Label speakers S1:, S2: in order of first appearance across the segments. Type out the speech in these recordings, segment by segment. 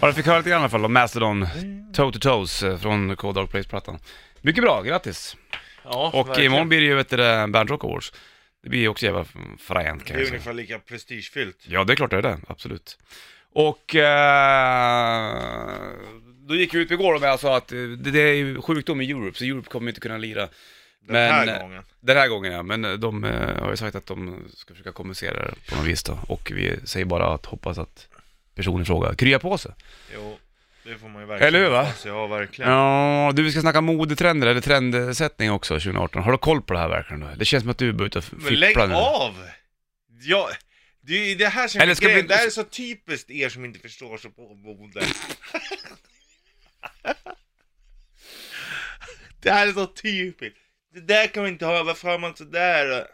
S1: Ja, du fick höra lite grann i alla fall om Mastodon, Toe to Toes eh, från Cold Dark Place-plattan. Mycket bra, grattis!
S2: Ja,
S1: Och
S2: verkligen.
S1: imorgon blir det ju vet du, det, Band Rock Awards. Det blir ju också jävla fränt
S3: Det
S1: kan
S3: är
S1: jag säga.
S3: ungefär lika prestigefyllt.
S1: Ja, det är klart det är det, absolut. Och eh, då gick vi ut igår och jag sa att eh, det, det är ju sjukdom i Europe, så Europe kommer inte kunna lira.
S3: Den här
S1: eh,
S3: gången.
S1: Den här gången ja, men eh, de eh, har ju sagt att de ska försöka kommunicera det på något vis då. Och vi säger bara att hoppas att personen i fråga kryar på sig.
S3: Jo, det får man ju verkligen.
S1: Eller hur, va?
S3: hoppas. Ja, verkligen.
S1: Ja, du vi ska snacka modetrender eller trendsättning också 2018. Har du koll på det här verkligen? då? Det känns som att du är bara ute och
S3: Men lägg
S1: fipplar nu.
S3: av! Ja, det är ju det här som
S1: Eller
S3: är
S1: ska vi-
S3: grejen. Det här är så typiskt er som inte förstår sig på mode. det här är så typiskt. Det där kan vi inte ha, varför har man sådär? Ah.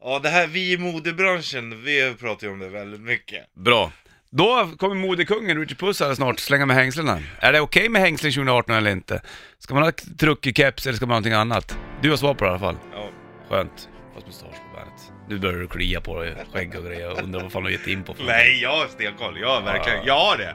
S3: Ja, det här, vi i modebranschen, vi pratar ju om det väldigt mycket.
S1: Bra. Då kommer modekungen Richard Puss här snart slänga med hängslena. Är det okej med hängslen 2018 eller inte? Ska man ha truckig keps eller ska man ha någonting annat? Du har svar på det i alla fall.
S3: Ja.
S1: Mm. Skönt. Fast mustasch på bandet. Nu börjar du klia på dig, skägg och grejer. Jag undrar vad fan du har gett in på. för
S3: Nej, jag har stenkoll, jag har
S1: Ah.
S3: verkligen, jag har det.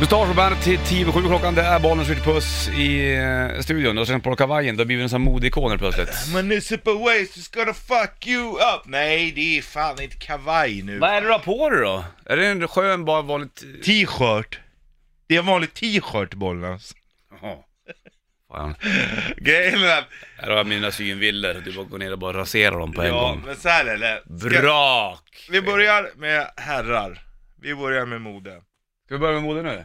S1: Mustasch på bandet till 10 7 klockan, det är Bollnäs Ritchie Puss i eh, studion. Du har slängt på dig kavajen, du har blivit en sån här modeikon helt plötsligt.
S3: Municipal waste is gonna fuck you up! Nej, det är fan inte kavaj nu.
S1: Vad är det du har på dig då? Är det en skön, bara vanlig...
S3: T-shirt. Det är en vanlig t-shirt Bollnäs.
S1: Jaha. Fan.
S3: Grejen är att,
S1: Här har jag mina synvillor, du bara går ner och bara raserar dem på en
S3: ja
S1: gång.
S3: men så här är det. Ska-
S1: Brak!
S3: Vi börjar med herrar. Vi börjar med mode.
S1: Ska vi börja med mode nu?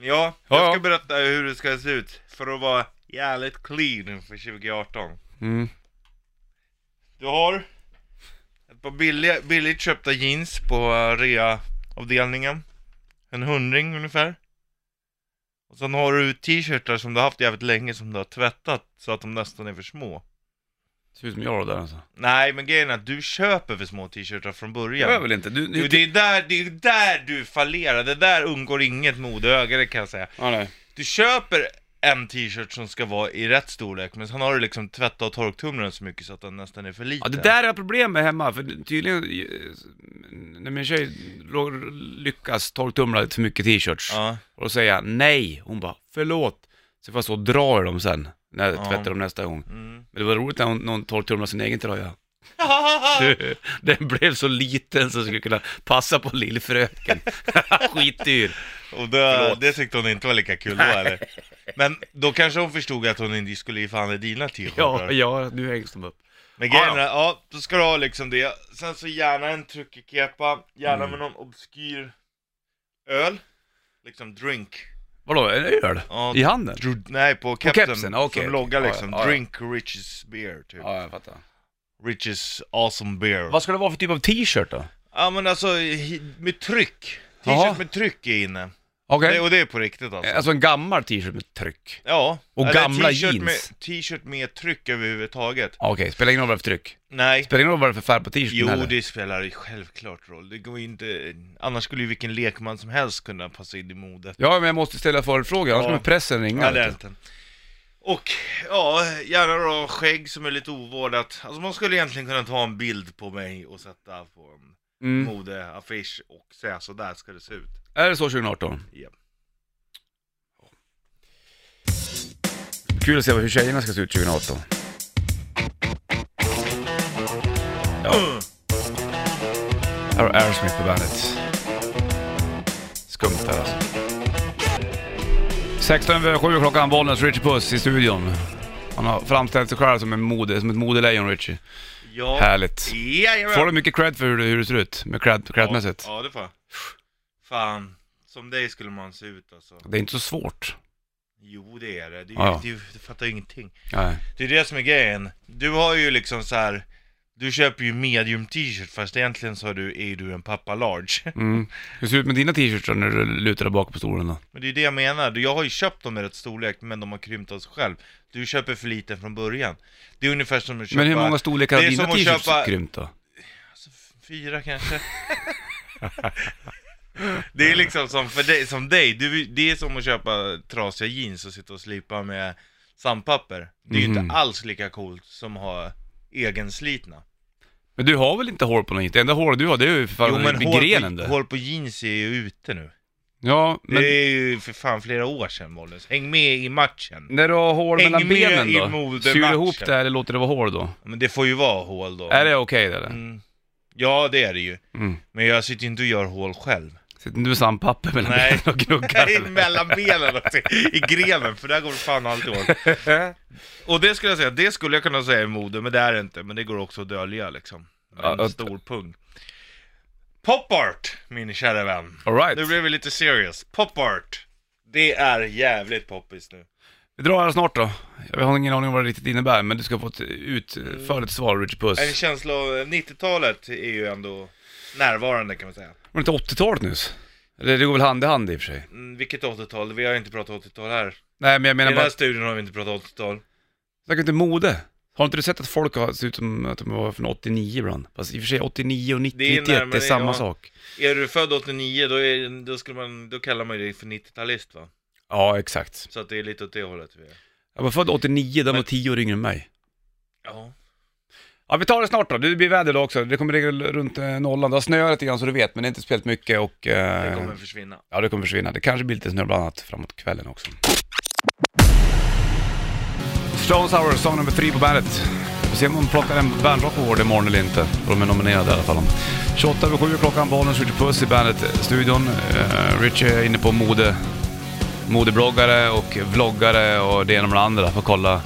S3: Ja,
S1: Ja,
S3: jag
S1: ja.
S3: ska berätta hur det ska se ut för att vara jävligt clean för 2018.
S1: Mm.
S3: Du har ett par billiga, billigt köpta jeans på eh, reaavdelningen. En hundring ungefär. Och sen har du t-shirtar som du har haft jävligt länge som du har tvättat så att de nästan är för små.
S1: Ser ut som jag där alltså.
S3: Nej men grejen är att du köper för små t-shirtar från
S1: Det
S3: början.
S1: var jag väl inte? Du...
S3: Du, det, är där, det är där du fallerar, det där undgår inget modeöga det kan jag säga.
S1: Ja, nej.
S3: Du köper en t-shirt som ska vara i rätt storlek, men sen har du liksom tvättat och torktumlaren så mycket så att den nästan är för liten.
S1: Ja, det där är jag problem med hemma, för tydligen... eh, När min tjej lå- lyckas torktumla lite för mycket t-shirts,
S3: Ja.
S1: och då säger jag nej, hon bara förlåt. Så får jag så och dra i dem sen, när jag tvättar dem nästa gång.
S3: Mm.
S1: Men det var roligt när hon, någon torktumlade sin egen tröja. Du, den blev så liten så den skulle kunna passa på lillfröken. Skitdyr.
S3: Och det,
S1: Förlåt.
S3: det tyckte hon inte var lika kul då eller? Men då kanske hon förstod att hon inte skulle ge fan i dina
S1: Ja,
S3: t-shirtar.
S1: ja, nu hängs de upp.
S3: Men grejen
S1: Ja,
S3: är, ja, då ska du ha liksom det. Sen så gärna en truckig kepa, gärna
S1: Mm.
S3: med någon obskyr öl. Liksom drink.
S1: Vadå, en öl?
S3: Ja,
S1: I handen?
S3: Dr- Nej, på
S1: kepsen,
S3: kepsen,
S1: okej, okej.
S3: som logga
S1: Ja,
S3: liksom.
S1: ja, ja.
S3: Drink Riches beer, typ.
S1: Ja, jag fattar.
S3: Riches awesome beer.
S1: Vad ska det vara för typ av t-shirt då?
S3: Ja men alltså, hi- med tryck.
S1: Jaha.
S3: T-shirt med tryck är inne.
S1: Okej.
S3: Det, och det är på riktigt alltså.
S1: Alltså en gammal t-shirt med tryck.
S3: Ja.
S1: Och
S3: Eller
S1: gamla
S3: t-shirt
S1: jeans.
S3: Med, t-shirt med tryck överhuvudtaget.
S1: Ja, Okej, spelar ingen roll vad det är för tryck.
S3: Nej.
S1: Spelar ingen roll vad det är för färg på t-shirten
S3: Jo,
S1: heller.
S3: det spelar ju självklart roll. Det går ju inte... Annars skulle ju vilken lekman som helst kunna passa in i modet.
S1: Ja, men jag måste ställa följdfrågor, annars
S3: Ja.
S1: kommer pressen ringa.
S3: Ja, det är
S1: vet
S3: inte. Och ja, gärna då skägg som är lite ovårdat. Alltså man skulle egentligen kunna ta en bild på mig och sätta på en
S1: du. mm.
S3: modeaffisch och säga så där ska det se ut.
S1: Är det så 2018?
S3: Ja.
S1: Kul att se hur tjejerna ska se ut 2018. Här har Aerosmith på bandet. Skumt här alltså. 16 över 7 klockan, Bollnäs, Richie Puss i studion. Han har framställt sig själv som, en mode, som ett modelejon, Richie.
S3: Ja.
S1: Härligt.
S3: Jajamän.
S1: Får du mycket cred för hur, det- hur det ser ut, med cred, credmässigt?
S3: Ja, ja, det får jag. Fan, som dig skulle man se ut alltså.
S1: Det är inte så svårt.
S3: Jo, det är det. Du,
S1: Ja.
S3: du, du fattar ju ingenting.
S1: Nej.
S3: Det är det som är grejen. Du har ju liksom så här. Du köper ju medium t-shirt fast egentligen så har du, är ju du en pappa large.
S1: Mm. Hur ser det ut med dina t-shirts då, när du lutar dig bak på stolen då?
S3: Men det är ju det jag menar, Du- jag har ju köpt dem i rätt storlek men de har krympt av sig själv Du köper för liten från början Det är ungefär som att köpa...
S1: Men hur många storlekar har
S3: Det är
S1: dina
S3: som att
S1: t-shirts
S3: köpa-
S1: krympt då?
S3: Alltså, f- fyra kanske? det är liksom som för dig, som dig. Du, det är som att köpa trasiga jeans och sitta och slipa med sandpapper Det är ju
S1: Mhm.
S3: inte alls lika coolt som att ha egenslitna
S1: Men du har väl inte hår på något? Det enda håret du har det är ju för fan
S3: Jo men
S1: vid grenen
S3: hål på,
S1: där.
S3: hål på jeans är ju ute nu.
S1: Ja, men
S3: Det är ju för fan flera år sedan Bollnäs. Häng med i matchen.
S1: när du har hål
S3: Häng
S1: mellan
S3: med
S1: benen
S3: i
S1: då?
S3: modematchen.
S1: Syr du ihop det här eller låter det vara hål då?
S3: Men det får ju vara hål då.
S1: Är det okej det eller?
S3: Mm. Ja det är det ju.
S1: Mm.
S3: Men jag sitter ju inte och gör hål själv.
S1: Sitter inte du med sandpapper mellan
S3: Nej.
S1: benen och gnuggar
S3: Nej,
S1: eller?
S3: mellan benen och i grenen, för där går det fan alltid hål. Och det skulle jag säga, det skulle jag kunna säga i mode, men det är det inte. Men det går också att dölja liksom. Med En
S1: Ja, att-
S3: stor pung. Pop art, min kära vän.
S1: All right.
S3: Nu blir vi lite serious. Pop art. Det är jävligt poppis nu.
S1: Vi drar här snart då. Jag har ingen aning om vad det riktigt innebär, men du ska få ett
S3: Mm.
S1: utförligt svar Richard
S3: En
S1: Puss.
S3: känsla av 90-talet är ju ändå närvarande kan man säga.
S1: Var det inte 80-talet nyss? Eller det går väl hand i hand i och för sig.
S3: Mm, vilket 80-tal? Vi har inte pratat 80-tal här.
S1: Nej men jag
S3: I
S1: menar
S3: den
S1: bara,
S3: här studion har vi inte pratat 80-tal.
S1: snacka inte mode. Har inte du sett att folk har, ser ut som att de var från 89 ibland? Fast i och för sig 89 och 90,
S3: Det är
S1: 91, det
S3: närmare,
S1: är samma
S3: ja.
S1: sak.
S3: Är du född 89, då, är, då, skulle man, då kallar man ju dig för 90-talist va?
S1: Ja, exakt.
S3: Så att det är lite åt det hållet vi är.
S1: Jag var född 89, de var
S3: Men-
S1: 10 år yngre än mig.
S3: Ja.
S1: Ja, vi tar det snart då. Det blir väder idag också. Det kommer regna runt eh, nollan. Det har snöat lite grann så du vet, men det är inte speciellt mycket och... eh,
S3: Det kommer försvinna.
S1: Ja, det kommer försvinna. Det kanske blir lite snö bland annat framåt kvällen också. Stones Hour, sång nummer tre på bandet. Vi får se om de plockar en bandrock award imorgon eller inte. De är nominerade i alla fall. 28 över 7 klockan, Bollnäs skjuter puss i bandet-studion. Uh, Richie är inne på mode, modebloggare och vloggare och det ena med det andra. Får kolla.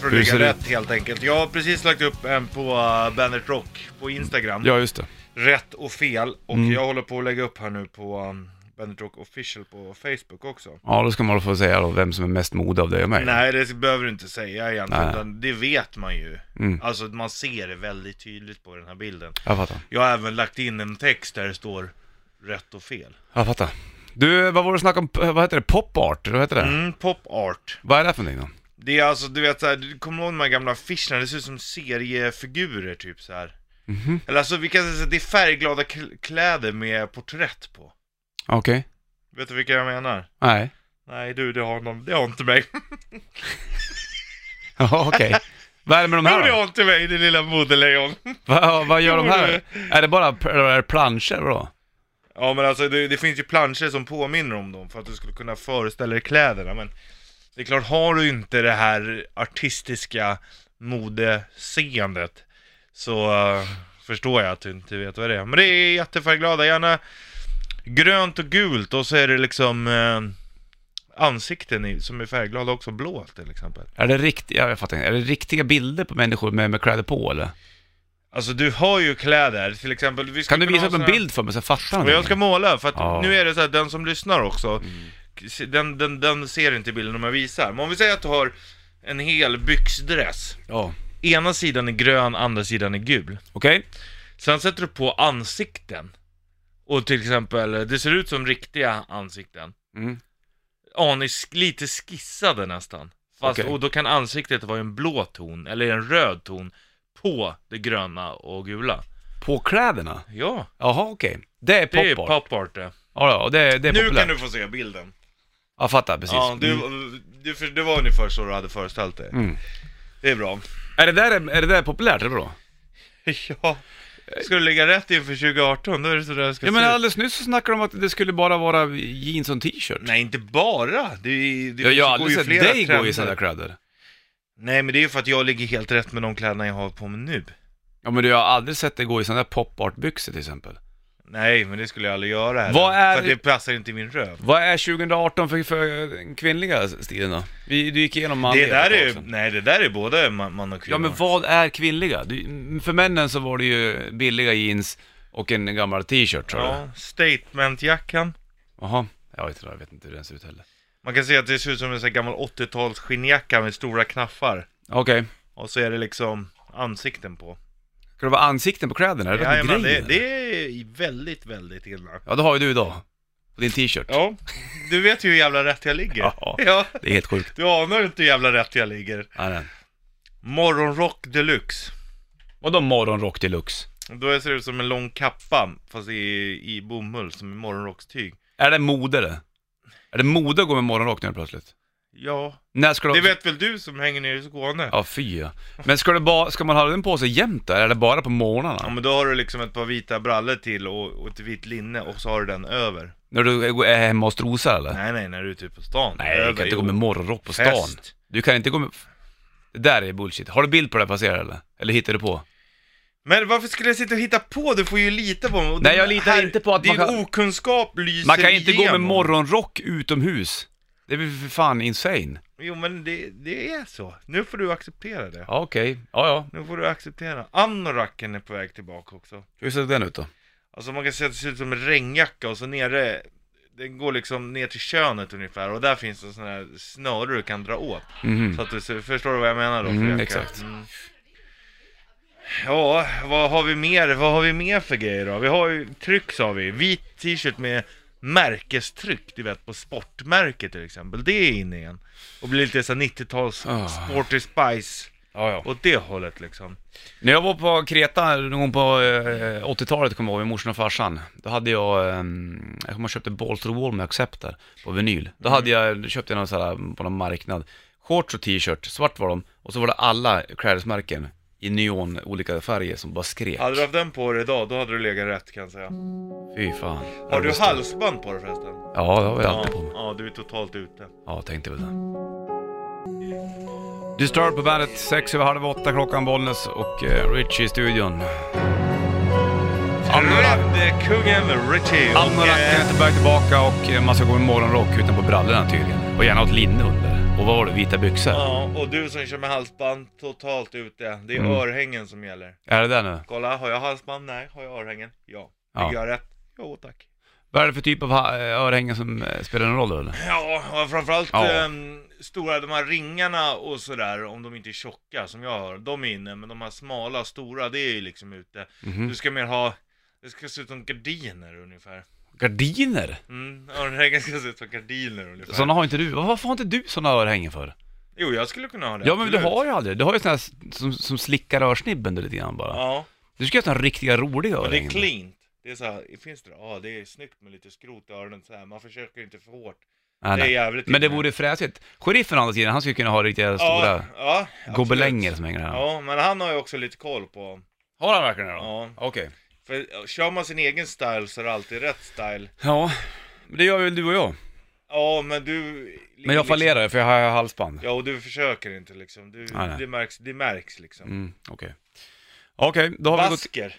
S3: För att
S1: Hur
S3: ligga
S1: ser det
S3: rätt helt enkelt. Jag har precis lagt upp en på uh, Bandit Rock på Instagram.
S1: Ja, Mm. just det.
S3: Rätt och fel. Och jag håller på att lägga upp här nu på um, Bandit Rock official på Facebook också.
S1: Ja, då ska man få säga då vem som är mest mode av dig och mig.
S3: Nej, det behöver du inte säga egentligen.
S1: Nej.
S3: Utan det vet man ju.
S1: Mm.
S3: Alltså man ser det väldigt tydligt på den här bilden.
S1: Jag fattar.
S3: Jag har även lagt in en text där det står rätt och fel.
S1: Jag fattar. Du, vad var det snack om? Vad heter det? Pop art? Vad heter det?
S3: Mm, pop art.
S1: Vad är det för någonting då?
S3: Det är alltså, du vet såhär, du kommer ihåg de här gamla affischerna, det ser ut som seriefigurer typ så här. Eller alltså vi kan säga att det är färgglada kl- kläder med porträtt på.
S1: Okej.
S3: Vet du vilka jag menar?
S1: Nej.
S3: Nej du, det har, någon, det har inte mig.
S1: Ja, okej. Vad är det med de
S3: Jo,
S1: här
S3: det
S1: då?
S3: har inte mig, det lilla modelejon.
S1: Vad, vad gör de här?
S3: Jo,
S1: Är det bara pl- är det planscher då?
S3: Ja men alltså det, det finns ju planscher som påminner om dem för att du skulle kunna föreställa dig kläderna men Det är klart, har du inte det här artistiska modeseendet så eh, förstår jag att du inte vet vad det är. Men det är jättefärgglada, gärna grönt och gult och så är det liksom eh, ansikten i, som är färgglada också, blå till exempel.
S1: Är det, rikt, ja, jag fattar, inte. är det riktiga bilder på människor med, med kläder på eller?
S3: Alltså du har ju kläder, till exempel... Vi
S1: Kan
S3: skulle
S1: du
S3: kunna
S1: visa upp
S3: ha
S1: en
S3: såna-
S1: bild för mig så jag fattar
S3: Och jag
S1: någonting?
S3: ska måla, för att
S1: Ja. Mm.
S3: nu är det så här, den som lyssnar också, den, den, den ser inte bilden om jag visar. Men om vi säger att du har en hel byxdress.
S1: Ja.
S3: Ena sidan är grön, andra sidan är gul.
S1: Okej?
S3: Sen sätter du på ansikten. Och till exempel, det ser ut som riktiga ansikten.
S1: Mm.
S3: Anis, lite skissade nästan. Fast,
S1: Okej.
S3: och då kan ansiktet vara en blå ton, eller en röd ton, på det gröna och gula.
S1: På kläderna?
S3: Ja,
S1: Jaha, okej. Det är
S3: det är
S1: pop art.
S3: pop art det.
S1: Ja, ja, och det, det är
S3: Nu
S1: populärt.
S3: kan du få se bilden.
S1: Jag fattar, precis.
S3: Ja, du,
S1: Mm.
S3: du, för, det var ungefär så du hade föreställt dig.
S1: Mm.
S3: Det är bra.
S1: Är, det där, är det där populärt? Är det bra?
S3: Ja. Ska du lägga rätt inför 2018, då är det sådär jag ska
S1: Eh. Ja,
S3: se
S1: men
S3: ut.
S1: alldeles nyss så snackade de om att det skulle bara vara jeans och en t-shirt.
S3: Nej, inte bara. Det, är- det
S1: jag jag har
S3: går
S1: aldrig
S3: ju
S1: sett
S3: flera
S1: dig gå
S3: trender.
S1: i sådana där kläder.
S3: Nej, men det är ju för att jag ligger helt rätt med de kläderna jag har på mig nu.
S1: Ja, men du, jag har aldrig sett dig gå i sådana där pop art-byxor till exempel.
S3: Nej, men det skulle jag aldrig göra heller.
S1: Vad är-
S3: För att det passar inte i min röv.
S1: Vad är 2018 för, för den kvinnliga stilen då? Vi, du gick igenom manliga
S3: Det där
S1: för ett
S3: är,
S1: tag sedan.
S3: nej, det där är både man, man och kvinna.
S1: Ja men vad är kvinnliga? Du, för männen så var det ju billiga jeans och en gammal t-shirt tror jag.
S3: Ja, statementjackan.
S1: Jaha, jag vet inte, jag vet inte hur den ser ut heller.
S3: Man kan se att det ser ut som en sån här gammal 80-tals skinnjacka med stora knappar.
S1: Okej,
S3: Och så är det liksom ansikten på.
S1: ska det vara ansikten på kläderna? Är det ja,
S3: Jajamän,
S1: grejen?
S3: det,
S1: Det,
S3: det är väldigt, väldigt illa.
S1: Ja det har ju du idag, på din t-shirt.
S3: Ja, du vet ju hur jävla rätt jag ligger.
S1: Ja.
S3: Ja,
S1: Det är helt sjukt.
S3: du anar inte hur jävla rätt jag ligger.
S1: Ja, den.
S3: Morgonrock deluxe.
S1: Vadå morgonrock deluxe?
S3: Då ser det ut som en lång kappa, fast i, i bomull, som i morgonrockstyg.
S1: Är det mode det? Är det mode att gå med morgonrock nu plötsligt?
S3: Ja,
S1: När ska
S3: det
S1: du...
S3: vet väl du som hänger nere i Skåne?
S1: Ja, fy ja. Men ska, du ba... ska man ha den på sig jämt där, eller bara på morgnarna?
S3: Ja men då har du liksom ett par vita brallor till och, och ett vitt linne och så har du den över.
S1: När du är hemma och strosar eller?
S3: Nej nej, när du är ute på stan.
S1: Nej, du
S3: över,
S1: kan inte gå
S3: jo.
S1: med morgonrock på stan.
S3: Fest.
S1: Du kan inte gå med... Det där är bullshit. Har du bild på det här passerar eller? Eller hittar du på?
S3: Men varför skulle jag sitta och hitta på? Du får ju lita på mig. Och
S1: Nej,
S3: den
S1: jag litar inte på att
S3: din
S1: man kan-
S3: okunskap lyser
S1: Man kan inte gå med
S3: igenom.
S1: morgonrock utomhus. Det blir för fan insane.
S3: Jo men det, det är så. Nu får du acceptera det.
S1: Ja, okej. Ja, ja.
S3: Nu får du acceptera. Anoraken är på väg tillbaka också.
S1: Hur ser den ut då?
S3: Alltså man kan säga att det ser ut som en regnjacka och så nere, den går liksom ner till könet ungefär och där finns en sån här snöre du kan dra åt.
S1: Mhm.
S3: Så att du ser- förstår du vad jag menar då?
S1: Mm,
S3: för jacka?
S1: exakt.
S3: Mm. Ja, vad har vi mer? Vad har vi mer för grejer då? Vi har ju tryck sa vi, vit t-shirt med märkestryck, du vet på sportmärke till exempel. Det är inne igen. Och blir lite så här 90-tals
S1: Ah.
S3: Sporty Spice
S1: Ja, ja.
S3: åt det hållet liksom.
S1: När jag var på Kreta någon gång på eh, 80-talet kommer jag ihåg med morsan och farsan. Då hade jag, eh, jag kommer ihåg jag köpte Balls to the Wall med Acceptor på vinyl. Då hade jag, då köpte jag någon sån här mm, på någon marknad. Shorts och t-shirt, svart var de. Och så var det alla klädesmärken i neon, olika färger som bara skrek.
S3: Hade du haft den på dig idag, då hade du legat rätt kan jag säga.
S1: Fy fan.
S3: Har du halsband på dig förresten?
S1: Ja, det har jag alltid på mig.
S3: ja, du är totalt ute.
S1: Ja, tänkte väl det. Disturbed på bandet, sex över halv åtta klockan Bollnäs och eh, Richie i studion. Anorak-
S3: Rädd Eh, kungen Richie och,
S1: Anoracken är
S3: eh,
S1: tillbaka, tillbaka och eh, man ska gå med morgonrock utan på brallorna tydligen. Och gärna ha ett linne under. Och vad var det, vita byxor?
S3: Ja, och du som kör med halsband, totalt ute. Det är
S1: Mm.
S3: örhängen som gäller.
S1: Är det där nu?
S3: Kolla, har jag halsband? Nej. Har jag örhängen? Ja.
S1: Ja.
S3: Ligger jag rätt? Jo, tack.
S1: Vad är det för typ av ha- eh, örhängen som eh, spelar någon roll då eller?
S3: Ja, och framförallt
S1: Ja.
S3: ehm, stora, de här ringarna och sådär, om de inte är tjocka som jag har, de är inne, men de här smala, stora, det är ju liksom ute.
S1: Mhm.
S3: Du ska mer ha, det ska se ut som gardiner ungefär.
S1: Gardiner?
S3: Mm, örhängen ska se ut som gardiner ungefär.
S1: Sådana har inte du. Varför har inte du sådana örhängen för?
S3: Jo, jag skulle kunna ha det.
S1: Ja men du
S3: absolut.
S1: har ju aldrig. Du har ju sådana här som, som slickar örsnibben du lite grann bara.
S3: Ja,
S1: Du ska göra sådana riktiga roliga
S3: men det
S1: örhängen.
S3: är cleant. Det är så här, finns det? Ja, det är snyggt med lite skrot i öronen så här. Man försöker inte för hårt.
S1: Nej,
S3: det är
S1: nej.
S3: jävligt
S1: Men det
S3: inne.
S1: vore fräsigt. Sheriffen å andra sidan, han skulle kunna ha riktiga stora
S3: ja, absolut.
S1: gobelänger som hänger här.
S3: Ja, men han har ju också lite koll på,
S1: Har han verkligen det då?
S3: ja.
S1: Okej.
S3: För ja, kör man sin egen style så är det alltid rätt style.
S1: Ja, men det gör väl du och jag.
S3: Ja, men du...
S1: Men
S3: Liksom.
S1: jag fallerar ju för jag har halsband.
S3: Ja, och du försöker inte liksom. Du,
S1: Nej, nej.
S3: Det, märks, det märks liksom.
S1: Mm, okej. Okej, då har vi gått...
S3: Basker,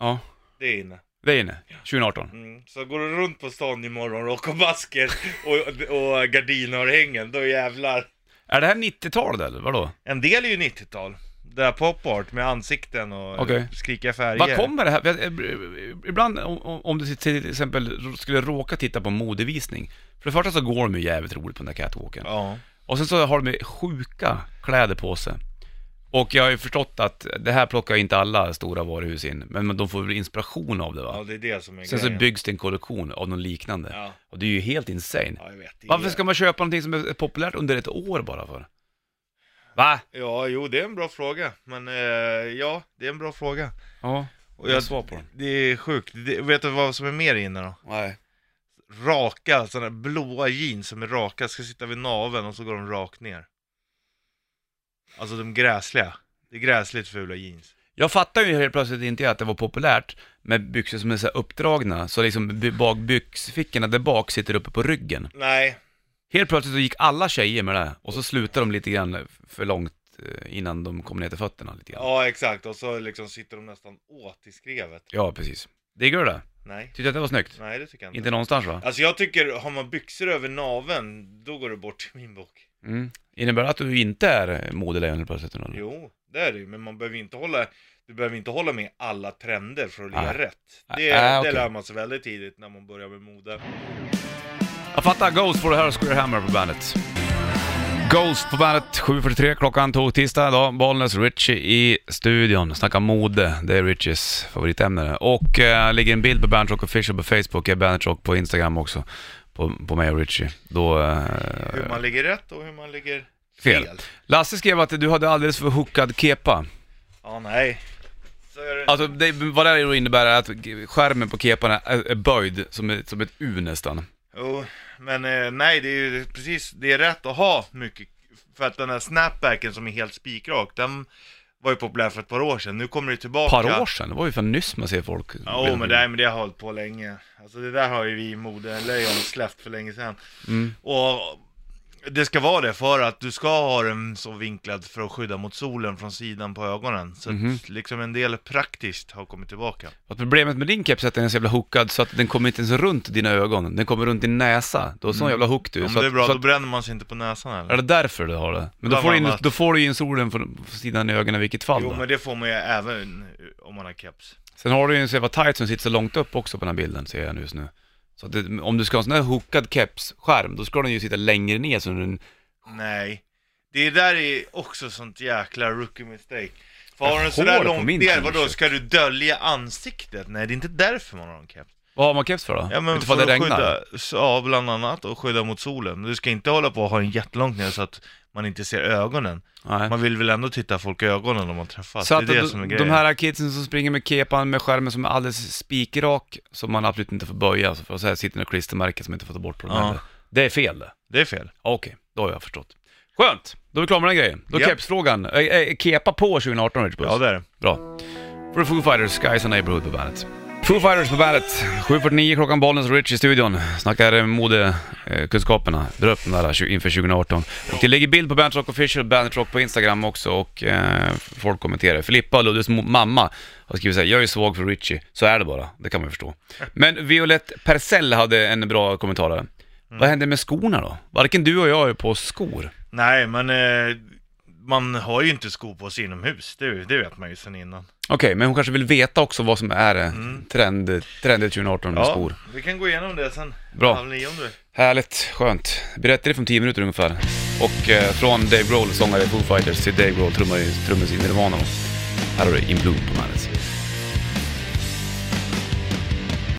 S1: Ja,
S3: det är inne.
S1: det är inne. 2018.
S3: Mm. Så går du runt på stan imorgon och rockar basker och, och gardinörhängen, då jävlar.
S1: Är det här 90-talet eller vadå?
S3: En del är ju 90-tal. Det där pop art med ansikten och
S1: Okej.
S3: skrika färger.
S1: Vad kommer det här? Jag- jag- eh, Ibland om- om du till exempel skulle råka titta på en modevisning. För det första så går de ju jävligt roligt på den där catwalken.
S3: Ja.
S1: Och sen så har de ju sjuka kläder på sig. Och jag har ju förstått att det här plockar inte alla stora varuhus in, men de får väl inspiration av det va?
S3: ja, det är det som är
S1: sen så
S3: grejen.
S1: byggs det en kollektion av något liknande.
S3: Ja.
S1: Och det är ju helt insane.
S3: ja, jag vet. Det är-
S1: Varför ska man köpa någonting som är populärt under ett år bara för? Va?
S3: Ja, jo, det är en bra fråga. Men eh, ja, det är en bra fråga.
S1: Ja,
S3: Och jag-
S1: svar på den.
S3: Det är sjukt. Det, vet du vad som är mer inne då?
S1: Nej.
S3: Raka, sådana där blåa jeans som är raka, ska sitta vid naveln och så går de rakt ner. Alltså de gräsliga. Det är gräsligt fula jeans.
S1: Jag fattar ju helt plötsligt inte att det var populärt med byxor som är så här uppdragna, så liksom by- bak byxfickorna där bak sitter uppe på ryggen.
S3: Nej,
S1: Helt plötsligt så gick alla tjejer med det och så slutade de lite grann för långt eh, innan de kom ner till fötterna lite grann. Ja,
S3: ja exakt. Och så liksom sitter de nästan åt i skrevet.
S1: precis. Digger du det?
S3: Nej,
S1: Tyckte du att det var snyggt?
S3: nej det tycker jag inte.
S1: Inte någonstans va?
S3: Alltså jag tycker, har man byxor över naveln, då går det bort i min bok.
S1: Mm. Innebär det att du inte är modelejon helt plötsligt? eller?
S3: Jo, det är det ju, men man behöver inte hålla du behöver inte hålla med alla trender för att ligga
S1: Nej.
S3: rätt.
S1: Nej,
S3: Det,
S1: äh,
S3: det
S1: okej.
S3: lär man sig väldigt tidigt när man börjar med mode.
S1: Jag fattar, Ghost får det här och Square Hammer på bandet. Ghost på bandet, 7.43 klockan tog tisdag idag. Bollnäs, Richie i studion. Snacka mode, det är Richies favoritämne det. Och eh, ligger en bild på Bandit Rock Official på Facebook, är Bandit Rock på Instagram också. På, på mig och Richie. Då... Eh,
S3: Hur man ligger rätt och hur man ligger fel.
S1: fel. Lasse skrev att du hade alldeles för hookad kepa.
S3: Ja, nej. Så är det.
S1: Alltså det, vad det här innebär är att skärmen på kepan är, är böjd som, ett- som ett U nästan.
S3: Jo, men eh, nej det är ju precis, det är rätt att ha mycket. För att den här snapbacken som är helt spikrak, den var ju populär för ett par år sedan. Nu kommer det
S1: Ett
S3: tillbaka.
S1: par år sedan, det var ju för nyss man ser folk.
S3: Ja, jo, men, det, men det har hållit på länge. Alltså det där har ju vi modelejon släppt för länge sedan.
S1: Mm.
S3: Och det ska vara det för att du ska ha den så vinklad för att skydda mot solen från sidan på ögonen. Så
S1: Mhm.
S3: att liksom en del praktiskt har kommit tillbaka.
S1: Att problemet med din keps är att den är så jävla hookad så att den kommer inte ens runt dina ögon. Den kommer runt din näsa. Då är sån jävla hook du.
S3: Om
S1: så
S3: Mm. det är
S1: att-
S3: bra,
S1: så
S3: då
S1: att,
S3: bränner man sig inte på näsan
S1: är
S3: heller.
S1: det därför du har det? Men då
S3: Bland
S1: får du, in,
S3: annat.
S1: då får du in solen från från sidan i ögonen i vilket fall
S3: Jo,
S1: då.
S3: men det får man ju även om man har keps.
S1: Sen har du ju en så jävla tight som sitter så långt upp också på den här bilden, ser jag nu just nu. Så att det, om du ska ha en sån här hookad kepsskärm, då ska den ju sitta längre ner så den...
S3: Nej. Det där är också sånt jäkla rookie mistake. För har du en
S1: Håret
S3: sådär
S1: på
S3: lång
S1: min
S3: del, vadå,
S1: t-shirt.
S3: ska du dölja ansiktet? Nej, det är inte därför man har en keps.
S1: Vad har man keps för då?
S3: Ja men
S1: Utifall
S3: för att skydda, så- ja bland annat, och skydda mot solen. Du ska inte hålla på och ha en jättelångt ner så att man inte ser ögonen.
S1: Nej.
S3: Man vill väl ändå titta folk i ögonen om man träffas.
S1: Så
S3: det är
S1: att
S3: det
S1: de-
S3: som är
S1: de
S3: grejen.
S1: här kidsen som springer med kepan med skärmen som är alldeles spikrak, som man absolut inte får böja, alltså, för så här sitter några klistermärken som inte får ta bort på dem
S3: Ja.
S1: heller. Det är fel det.
S3: Det är fel.
S1: Ja, Okej, då har jag förstått. Skönt, då är vi klara med den grejen. Då är
S3: Ja.
S1: kepsfrågan. Är, är kepa på 2018 Ridge Puss?
S3: Ja det är det.
S1: Bra. För Foo Fighters, Skies and Neighborhood på bandet. Foo Fighters på bandet. 7.49 klockan, Bollnäs och Rich i studion. Snackar eh, modekunskaperna. Drar upp den där tju- inför 2018. Och det ligger bild på Bandet Rock Official, Bandet Rock på Instagram också och eh, folk kommenterar. Filippa och Luddes mo- mamma har skrivit såhär, jag är svag för Richie. Så är det bara, det kan man ju förstå. Men Violette Persell hade en bra kommentarare. Vad hände med skorna då? Varken du och jag är på skor.
S3: Nej men, eh, man har ju inte skor på sig inomhus. Det, det vet man ju sen innan.
S1: Okej, men hon kanske vill veta också vad som är eh, trend, trendigt 2018 med skor.
S3: vi kan gå igenom det sen.
S1: Bra.
S3: Halv nio om du vill.
S1: Härligt, skönt. Berättade från 10 minuter ungefär. Och eh, från Dave Grohl, sångare i Foo Fighters, till Dave Grohl, trummare i- trummis i Nirvana. Här har du In Bloom på bandet.